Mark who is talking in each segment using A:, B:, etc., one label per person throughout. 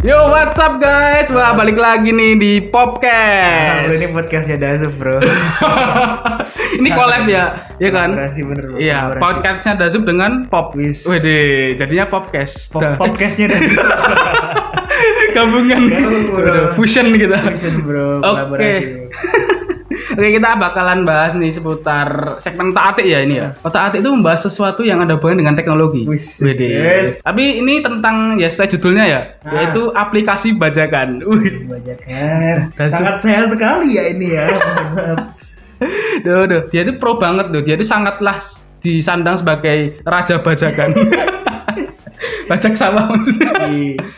A: Yo, what's up guys? Wah, balik lagi nih di
B: Ah, Nah,
A: Popcast.
B: ini podcastnya Dazuf bro
A: ini collab ya, ya kan?
B: Iya, Kolaborasi bener bro
A: Iya,
B: Kolaborasi.
A: podcastnya Dazub dengan Pop.
B: Wis.
A: Wede, jadinya Popcast.
B: Pop
A: Dah.
B: Podcastnya Dazuf
A: Gabungan.
B: Gabung, bro.
A: Udah, fusion kita.
B: Action, bro
A: Oke.
B: Kolaborasi bro.
A: Oke, kita bakalan bahas nih seputar segmen otak atik ya ini ya. Otak atik itu membahas sesuatu yang ada hubungan dengan teknologi.
B: Iya. Wis.
A: Wede.
B: Yes.
A: Tapi ini tentang ya saya judulnya ya,
B: Ah.
A: yaitu aplikasi bajakan. Wih.
B: Bajakan.
A: Dazuf.
B: eh. Sangat sehat sekali ya ini ya
A: Duh, duh. Dia itu pro banget loh. Dia itu sangatlah disandang sebagai raja bajakan. Bajak sawah maksudnya.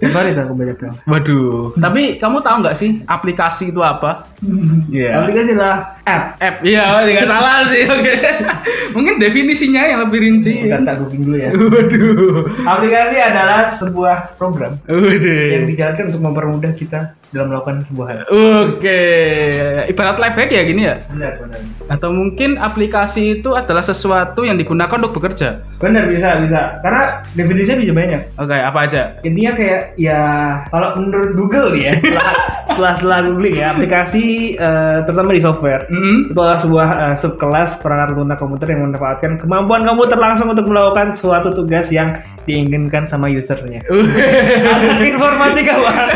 B: Kemarin itu aku bajakan
A: Waduh. Tapi kamu tahu nggak sih aplikasi itu apa? Iya.
B: Aplikasi lah app
A: App. Iya, nggak salah sih. Oke. Mungkin definisinya yang lebih rinci.
B: Bentar, tak googling dulu ya
A: Waduh.
B: Aplikasi adalah sebuah program yang
A: Waduh.
B: dijalankan untuk mempermudah kita dalam melakukan sebuah hal
A: Oke, ibarat live hack ya gini ya.
B: Benar, benar
A: Atau mungkin aplikasi itu adalah sesuatu yang digunakan untuk bekerja.
B: Benar, bisa, bisa Karena definisinya bisa banyak
A: Oke, apa aja?
B: intinya kayak ya kalau menurut Google nih ya setelah setelah, setelah googling ya aplikasi eh, terutama di software
A: Mm-mm.
B: itu adalah sebuah eh, subkelas perangkat lunak komputer yang memanfaatkan kemampuan komputer langsung untuk melakukan suatu tugas yang diinginkan sama usernya. Anak informatika banget,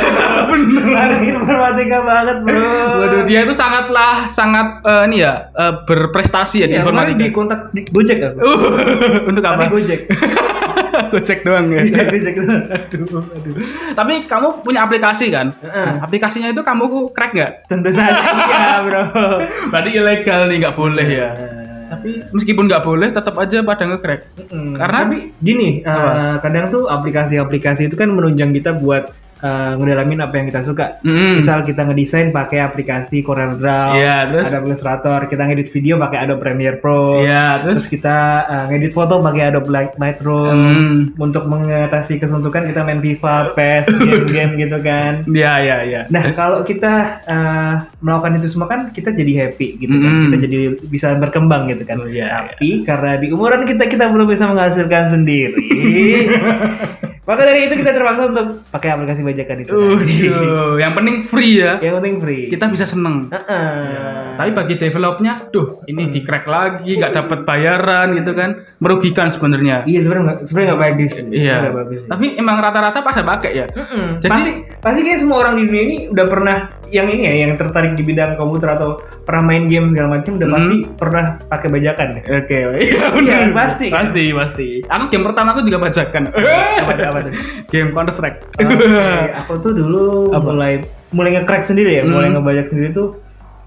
B: bener anak informatika banget bro. Iya,
A: Waduh, dia itu sangatlah sangat eh, ini ya eh, berprestasi ya di
B: Ya, kemarin
A: informatika. Uh,
B: di kontak di Gojek aku.
A: Untuk
B: Tapi
A: apa?
B: Gojek.
A: Gojek doang ya.
B: Iya, Gojek. Aduh, aduh.
A: Tapi kamu punya aplikasi kan?
B: Heeh.
A: Nah, aplikasinya itu kamu crack nggak?
B: Tentu saja iya bro.
A: Berarti ilegal nih nggak boleh ya. Tapi meskipun nggak boleh, tetap aja pada nge-crack.
B: Mm-mm.
A: Karena-
B: tapi gini, eh,
A: Apa?
B: kadang tuh aplikasi-aplikasi itu kan menunjang kita buat eh, ngedalamin apa yang kita suka.
A: Mm.
B: Misal kita ngedesain pakai aplikasi CorelDRAW,
A: Iya, terus?
B: Adobe Illustrator, kita ngedit video pakai Adobe Premiere Pro,
A: Iya, terus
B: terus gitu. kita eh, ngedit foto pakai Adobe Light- Lightroom.
A: Mm.
B: Untuk mengatasi kesuntukan kita main FIFA, PES, game-game gitu kan.
A: Iya, iya, iya.
B: Nah, kalau kita eh, melakukan itu semua kan kita jadi happy gitu kan.
A: Mm.
B: Kita jadi bisa berkembang gitu kan.
A: Oh, iya,
B: Tapi karena di umuran kita kita belum bisa menghasilkan sendiri. maka dari itu kita terpaksa untuk pakai aplikasi bajakan itu. tadi.
A: Waduh, yang penting free ya.
B: Yang penting free.
A: Uhuh. Kita Iya. bisa seneng.
B: Heeh.
A: Tapi bagi developnya, duh, ini di crack lagi, nggak dapat bayaran gitu kan, merugikan sebenarnya.
B: Iya sebenarnya nggak sebenarnya nggak bagus.
A: Iya.
B: Nggak bagus.
A: Tapi emang rata-rata pada pakai ya.
B: Mm-mm.
A: Jadi-
B: pasti pasti kayak semua orang di dunia ini udah pernah yang ini ya yang tertarik di bidang komputer atau pernah main game segala macam udah
A: Mm.
B: pasti pernah pakai bajakan. ya.
A: Oke, iya benar.
B: pasti. kan?
A: Pasti, pasti. Aku game pertama aku juga bajakan.
B: Apa tuh, apa tuh?
A: game Counter Strike. Hmm,
B: Oke, aku tuh dulu
A: Apa?
B: mulai mulai nge-crack sendiri ya,
A: Hmm.
B: mulai ngebajak sendiri tuh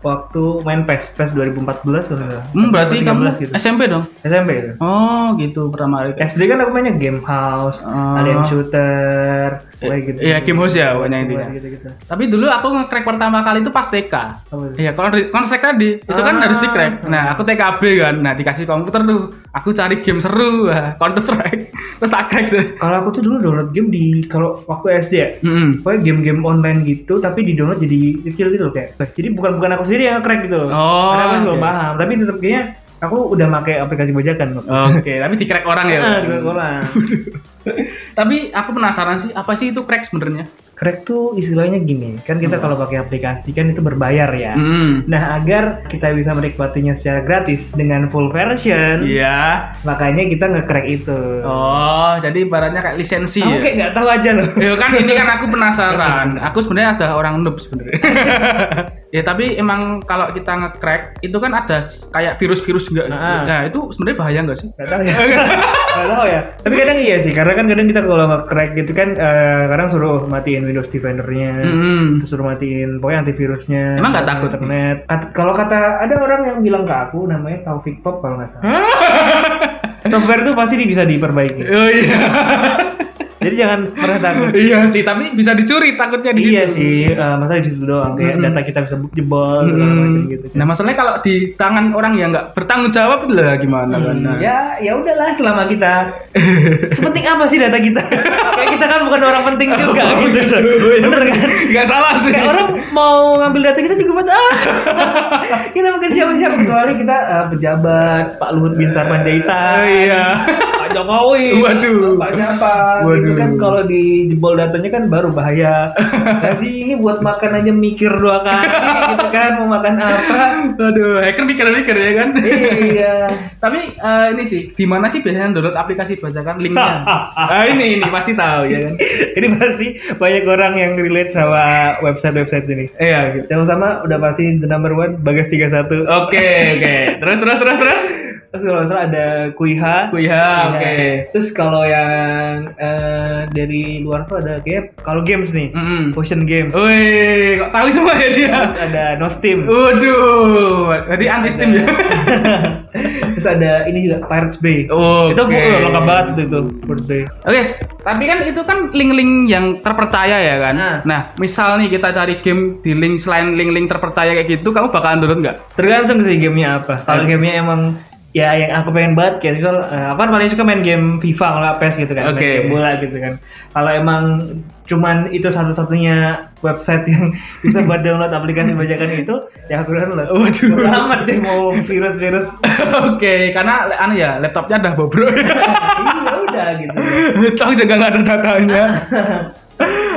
B: waktu main PES, PES 2014 kalau nggak salah.
A: Hmm, berarti kamu
B: 2013 gitu.
A: SMP dong?
B: SMP gitu.
A: Oh, gitu pertama kali.
B: SD kan aku mainnya game house,
A: Oh.
B: alien shooter, kayak gitu.
A: Iya, game host ya pokoknya intinya.
B: Gitu-gitu.
A: Tapi dulu aku nge-crack pertama kali itu pas TK.
B: gitu. Apa tuh?
A: Iya, kalau Counter Strike tadi itu kan
B: Ah.
A: harus di-crack. Nah, aku TKB kan. Nah, dikasih komputer tuh. Aku cari game seru, wah, Counter Strike. Terus tak crack tuh.
B: Kalau aku tuh dulu download game di kalau waktu SD ya,
A: Mm-mm.
B: pokoknya game-game online gitu tapi di download jadi kecil gitu loh kayak jadi bukan bukan aku sendiri yang crack gitu loh
A: Oh,
B: karena aku belum
A: oke.
B: paham tapi tetap kayaknya aku udah pakai aplikasi bajakan loh
A: Oke, tapi di-crack orang ya.
B: Nah, di sekolah.
A: Tapi aku penasaran sih, apa sih itu crack sebenarnya?
B: crack tuh istilahnya gini kan kita kalau pakai aplikasi kan itu berbayar ya
A: Hmm.
B: nah agar kita bisa menikmatinya secara gratis dengan full version
A: Iya.
B: makanya kita nge-crack itu
A: Oh, jadi ibaratnya kayak lisensi
B: kamu kayak
A: ya.
B: nggak tahu aja loh
A: Ya kan ini kan aku penasaran. Aku sebenarnya agak orang noob sebenarnya. ya tapi emang kalau kita nge-crack itu kan ada s- kayak virus-virus enggak sih?
B: Ah.
A: Nah, itu sebenarnya bahaya enggak sih?
B: Gak tahu ya. Gak tahu ya. Tapi kadang iya sih, karena kan kadang kita kalau nge-crack gitu kan eh, kadang suruh matiin Windows Defender-nya,
A: Hmm.
B: terus suruh matiin pokoknya antivirusnya.
A: Emang nggak takut?
B: internet. At- kalau kata ada orang yang bilang ke aku namanya Taufik Pop kalau nggak salah. Software tuh pasti bisa diperbaiki.
A: Oh iya.
B: Jadi jangan pernah takut.
A: iya sih, tapi bisa dicuri takutnya di
B: iya
A: situ.
B: sih, eh, masalah di situ doang
A: Gitu.
B: kayak
A: Mm-mm.
B: data kita bisa jebol segala macam
A: Hmm.
B: gitu.
A: Nah, masalahnya kalau di tangan orang yang nggak bertanggung jawab itu lah gimana kan? Nah.
B: Ya, ya udahlah selama kita. Sepenting apa sih data kita? Kayak kita kan bukan orang penting juga gitu. Bener kan?
A: Nggak salah sih.
B: Kayak orang mau ngambil data kita juga buat ah. kita bukan siapa-siapa kecuali kita eh, pejabat Pak Luhut bin Sarpanjaitan.
A: Oh, iya.
B: Pak Pak Jokowi,
A: Waduh.
B: Pak siapa? Itu
A: Waduh.
B: kan kalau di jebol datanya kan baru bahaya. Nah sih ini buat makan aja mikir dua kali gitu kan mau makan apa?
A: Aduh, hacker mikir-mikir ya kan.
B: Iya.
A: Tapi eh, ini sih, di mana sih biasanya download aplikasi bajakan linknya? ah, ini ini pasti tahu ya kan.
B: Ini pasti banyak orang yang relate sama website-website ini.
A: Iya gitu.
B: Yang pertama udah pasti the number one Bagas 31.
A: Oke, oke. Terus terus terus terus.
B: Terus kalau nggak salah ada Kuiha.
A: Kuiha,
B: Iya.
A: oke.
B: Terus kalau yang eh, dari luar tuh ada kayak kalau games nih,
A: Mm-mm.
B: Ocean Games.
A: Oh, Wih, kok tahu semua ya dia.
B: Terus ada
A: Oh,
B: Nostim.
A: Waduh, jadi anti steam
B: Iya.
A: ya.
B: Terus ada ini juga Pirates Bay.
A: Oh, Oke.
B: Itu full lengkap banget tuh itu Pirates Bay.
A: Oke, tapi kan itu kan link-link yang terpercaya ya kan.
B: Nah.
A: Nah, misal nih kita cari game di link selain link-link terpercaya kayak gitu, kamu bakalan download nggak?
B: Tergantung sih gamenya apa. Kalau gamenya emang ya yang aku pengen banget kayak misal eh, apa paling suka main game FIFA kalau nggak PES gitu kan, main
A: Oke.
B: game bola gitu kan. Kalau emang cuman itu satu-satunya website yang bisa buat download aplikasi bajakan itu, ya aku download.
A: Waduh.
B: Bodo amat deh mau virus-virus.
A: Oke, karena anu ya, laptopnya udah bobrok.
B: Iya udah gitu.
A: Laptop juga nggak ada datanya.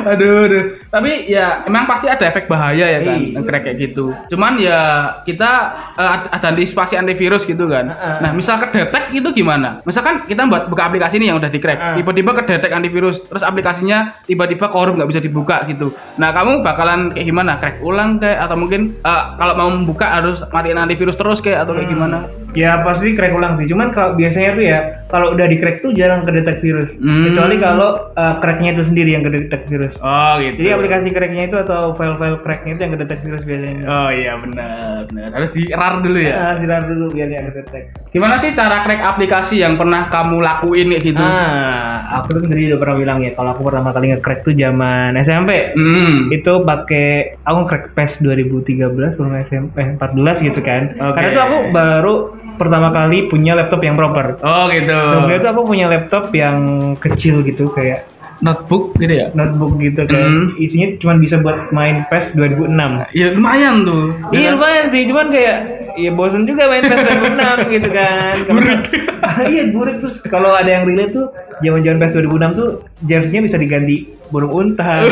A: aduh, aduh. Tapi ya emang pasti ada efek bahaya ya kan,
B: Iya.
A: crack kayak gitu. Cuman ya kita eh, ad- ada antisipasi antivirus gitu kan.
B: Heeh.
A: Nah, misal kedetek itu gimana? Misalkan kita buat buka aplikasi ini yang udah di-crack,
B: Heeh.
A: tiba-tiba kedetek antivirus, terus aplikasinya tiba-tiba korup nggak bisa dibuka gitu. Nah, kamu bakalan kayak gimana? Crack ulang kayak atau mungkin eh, kalau mau membuka harus matiin antivirus terus kayak atau kayak gimana?
B: Ya pasti crack ulang sih. Cuman kalau biasanya tuh ya kalau udah di crack tuh jarang kedetek virus.
A: Hmm.
B: Kecuali kalau eh, cracknya itu sendiri yang kedetek virus.
A: Oh, gitu.
B: Jadi aplikasi cracknya itu atau file-file cracknya itu yang kedetek virus biasanya.
A: Oh iya benar, benar. Harus di rar dulu ya.
B: Ah, sinar dulu biar dia kedetek.
A: Gimana sih cara crack aplikasi yang pernah kamu lakuin kayak gitu?
B: Ah, aku tuh sendiri udah pernah bilang ya kalau aku pertama kali nge-crack tuh zaman SMP.
A: Hmm.
B: Itu pakai aku nge-crack PES 2013 belum SMP eh, 14 gitu kan.
A: Oke.
B: Karena tuh aku baru pertama kali punya laptop yang proper.
A: Oh gitu.
B: Sebelumnya tuh aku punya laptop yang kecil gitu kayak
A: Notebook gitu ya?
B: notebook gitu kayak
A: Hmm.
B: isinya cuma bisa buat main PES 2006.
A: Ya lumayan tuh.
B: Iya
A: Ya kan?
B: lumayan sih, cuman kayak ya bosen juga main PES 2006 gitu kan. Karena- iya buruk terus kalau ada yang relate tuh zaman-zaman PES 2006 tuh jersey-nya bisa diganti burung unta,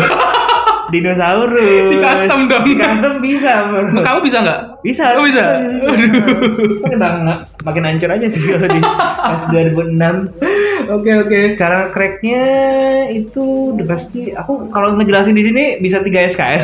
B: dinosaurus.
A: Di custom dong.
B: Di custom bisa, bro.
A: Kamu bisa nggak?
B: Bisa. Iya,
A: Oh, bisa? Aduh.
B: Kan emang makin hancur aja sih kalau di PES 2006
A: Oke oke.
B: cara cracknya itu udah pasti aku kalau ngejelasin di sini bisa 3 SKS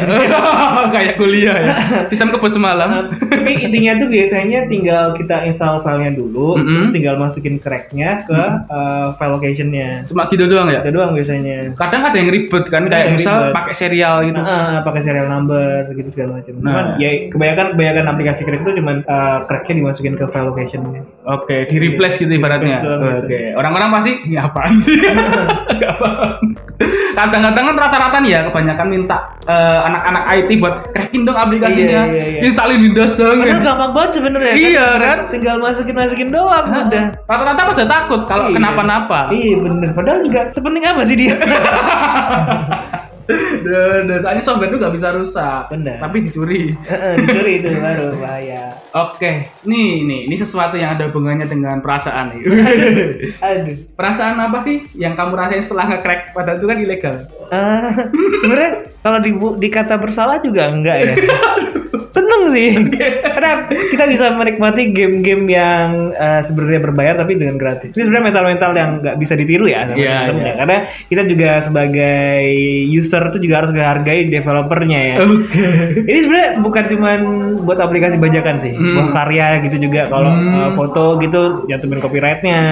A: Kayak kuliah ya. Bisa kebut
B: Ah.
A: semalam.
B: tapi intinya tuh biasanya tinggal kita install filenya dulu
A: Mm-mm.
B: terus tinggal masukin cracknya ke eh, file locationnya
A: Cuma gitu doang ya.
B: itu doang biasanya
A: Kadang ada yang ribet kan,
B: Ada
A: kayak
B: yang
A: misal
B: Iya, ribet.
A: pakai serial gitu.
B: Nah, pakai serial number gitu segala macam. Cuman
A: Nah.
B: ya kebanyakan kebanyakan aplikasi crack itu cuman eh, cracknya dimasukin ke file locationnya.
A: Oke, di replace gitu ibaratnya.
B: Betul, betul.
A: Oke, orang-orang pasti ini apaan sih? Nggak paham. Kadang-kadang kan rata-rata nih ya kebanyakan minta eh, anak-anak IT buat crackin dong aplikasinya,
B: Iya, iya, iya.
A: installin Windows dong.
B: Padahal gampang banget sebenarnya.
A: Iya, kan?
B: Tinggal masukin masukin doang
A: Hah?
B: udah.
A: Rata-rata pada takut kalau
B: Iya.
A: kenapa-napa.
B: Iya bener. Padahal juga sepenting apa sih dia?
A: Duh, duh, Soalnya software itu nggak bisa rusak,
B: Benar.
A: tapi dicuri.
B: Heeh, dicuri itu baru bahaya.
A: Oke, nih nih, ini sesuatu yang ada hubungannya dengan perasaan nih.
B: Aduh.
A: perasaan apa sih yang kamu rasain setelah nge-crack? Padahal itu kan ilegal.
B: Ah, sebenarnya kalau di, dikata bersalah juga enggak ya. Seneng sih. Karena kita bisa menikmati game-game yang eh, sebenarnya berbayar tapi dengan gratis. Ini sebenarnya mental-mental yang nggak bisa ditiru ya. sama
A: Iya,
B: teman-teman
A: iya.
B: ya. Karena kita juga sebagai user tuh juga harus menghargai developernya ya.
A: Oke.
B: Ini sebenarnya bukan cuman buat aplikasi bajakan sih,
A: Hmm.
B: buat karya gitu juga. Kalau
A: Hmm.
B: eh, foto gitu nyantumin copyrightnya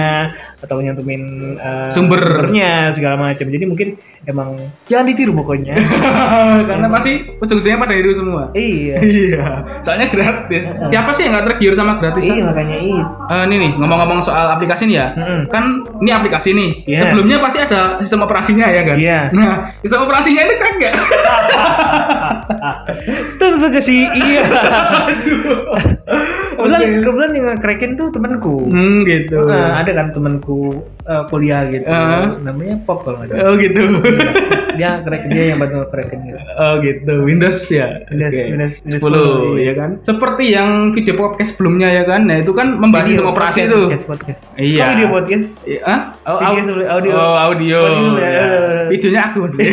B: atau nyantumin eh,
A: Sumber.
B: sumbernya segala macam. Jadi mungkin emang jangan ditiru pokoknya.
A: karena pasti ujung-ujungnya pada itu semua
B: iya,
A: iya soalnya gratis siapa sih yang nggak tergiur sama
B: iya
A: gratisan
B: makanya itu.
A: Eh, ini nih ngomong-ngomong soal aplikasi nih ya
B: Mm-mm.
A: kan ini aplikasi nih
B: Iya.
A: sebelumnya pasti ada sistem operasinya ya kan
B: Iya.
A: nah sistem operasinya ini keren nggak
B: Tentu saja sih iya.
A: Aduh.
B: Kebetulan kebetulan yang nge-crackin tuh temanku. Ah,
A: hmm gitu
B: Nah, ada kan temanku eh, kuliah gitu.
A: Ah.
B: Namanya Pop kalau nggak ada.
A: oh gitu
B: dia crack dia yang bantu crackin gitu.
A: Oh gitu, Windows ya.
B: Windows-
A: Oke.
B: Windows- Windows iya.
A: 10,
B: 10,
A: ya kan. Seperti yang video podcast sebelumnya ya kan. Nah, itu kan membahas
B: Video
A: tentang operasi
B: podcast,
A: itu.
B: podcast, podcast.
A: Iya.
B: Kok video podcast?
A: Iya, Hah? Oh,
B: Video
A: au-
B: sebelum- audio.
A: Oh, audio.
B: Audio, Iya. ya.
A: Ya. Videonya aku maksudnya.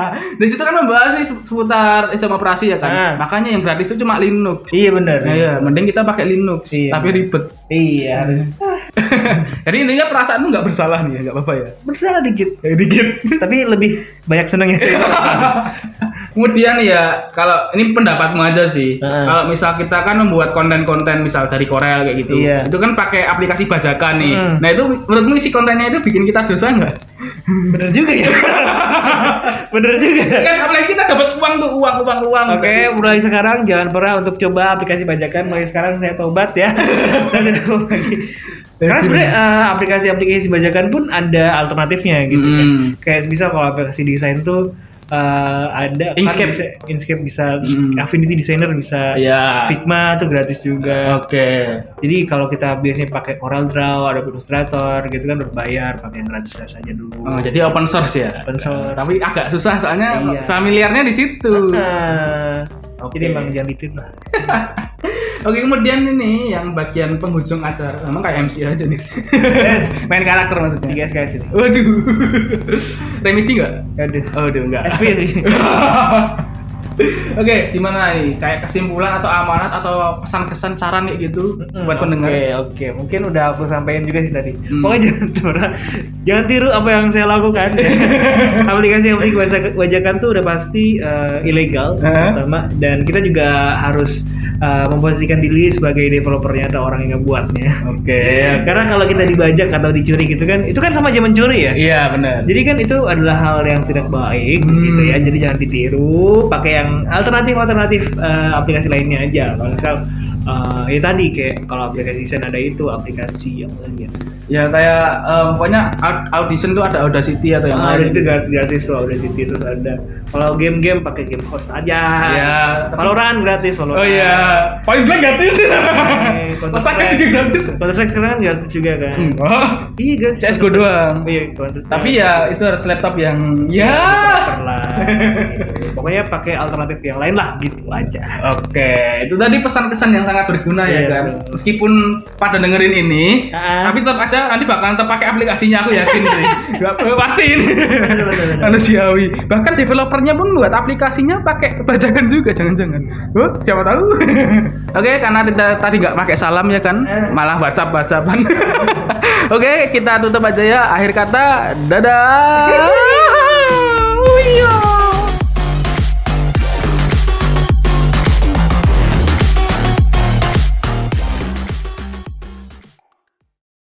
A: Di situ kan membahas nih se- seputar sistem operasi ya kan.
B: Ah.
A: Makanya yang gratis itu cuma Linux.
B: Iya benar.
A: Nah, ya, mending kita pakai Linux,
B: Iya.
A: tapi ribet.
B: Iya harus.
A: Jadi intinya perasaanmu nggak bersalah nih, ya, nggak apa-apa ya.
B: Bersalah dikit.
A: Ya, dikit.
B: Tapi lebih banyak ya. senengnya.
A: Kemudian ya kalau ini pendapatmu aja sih.
B: Heeh.
A: Kalau misal kita kan membuat konten-konten misal dari Korea kayak gitu,
B: Iya.
A: itu kan pakai aplikasi bajakan nih.
B: Hmm.
A: Nah itu menurutmu isi kontennya itu bikin kita dosa nggak?
B: bener juga ya. bener juga.
A: kan apalagi kita dapat uang tuh uang uang uang. kan?
B: Oke, mulai sekarang jangan pernah untuk coba aplikasi bajakan. Mulai sekarang saya tobat ya. Dan itu lagi. Karena sebenarnya eh, aplikasi-aplikasi bajakan pun ada alternatifnya gitu. kan.
A: Mm.
B: Kayak bisa kalau aplikasi desain tuh eh, ada kan
A: Inkscape.
B: bisa, Inkscape Mm-hmm. Iya. bisa,
A: Mm.
B: Affinity Designer bisa,
A: Ya.
B: Figma tuh gratis juga.
A: Oke.
B: Jadi kalau kita biasanya pakai Oral Draw, ada Illustrator gitu kan berbayar, pakai yang gratis saja dulu.
A: Oh, jadi open source ya.
B: Open source.
A: Tapi agak susah soalnya
B: Iya.
A: familiarnya di situ.
B: Nah,
A: Oke.
B: Jadi emang jangan ditiru lah.
A: Oke kemudian ini yang bagian penghujung acara sama kayak MC aja nih.
B: Yes.
A: Main karakter maksudnya.
B: Tiga guys ini.
A: Waduh. Remisi nggak?
B: Aduh.
A: Oh, udah enggak.
B: SP sih.
A: Oke, gimana nih? Kayak kesimpulan atau amanat atau pesan-kesan saran kayak gitu buat pendengar.
B: Oke, oke. Mungkin udah aku sampaikan juga sih tadi.
A: Hmm.
B: Pokoknya jangan pernah- jangan tiru apa yang saya lakukan. aplikasi yang bajak- bajakan tuh udah pasti eh, ilegal
A: Eh?
B: pertama dan kita juga harus eh, memposisikan diri sebagai developernya atau orang yang ngebuatnya.
A: Oke. ya
B: Ya,
A: kan?
B: Karena kalau kita dibajak atau dicuri gitu kan, itu kan sama aja mencuri ya.
A: Iya, benar.
B: Jadi kan itu adalah hal yang tidak baik
A: Hmm.
B: gitu ya. Jadi jangan ditiru, pakai yang alternatif-alternatif eh, aplikasi lainnya aja. Kalau misal eh, ya tadi kayak kalau aplikasi desain ada itu aplikasi yang lainnya.
A: Ya kayak eh, pokoknya au- audition tuh ada Audacity atau yang
B: Ah,
A: lain.
B: ada itu gratis, gratis tuh, ada itu terus ada. Kalau game-game pakai game host aja.
A: Ya.
B: Valorant gratis, Valorant.
A: Oh iya, poin blank gratis.
B: Iya,
A: Mas Akan juga gratis.
B: Counter Strike sekarang kan gratis juga kan.
A: Enggak.
B: Iya, gratis.
A: CS:GO doang.
B: Iya, Counter Strike.
A: Tapi ya itu harus laptop yang
B: Iya,
A: ya.
B: Developer lah. Gitu. Ah! Pokoknya pakai alternatif yang lain lah gitu aja.
A: Oke, itu tadi pesan-pesan yang sangat berguna ya
B: Iya,
A: kan.
B: betul.
A: Meskipun pada dengerin ini,
B: Ah.
A: tapi tetap aja nanti bakalan tetap pakai aplikasinya aku yakin sih. Gak eh, pasti ini.
B: Bener, bener, bener.
A: Manusiawi. Bahkan developernya pun buat aplikasinya pakai bajakan juga jangan-jangan. Huh, siapa tahu. Oke, karena kita tadi nggak pakai salam ya kan,
B: Eh.
A: malah WhatsApp WhatsAppan. Oke, kita tutup aja ya. Akhir kata, dadah. Oh, iya.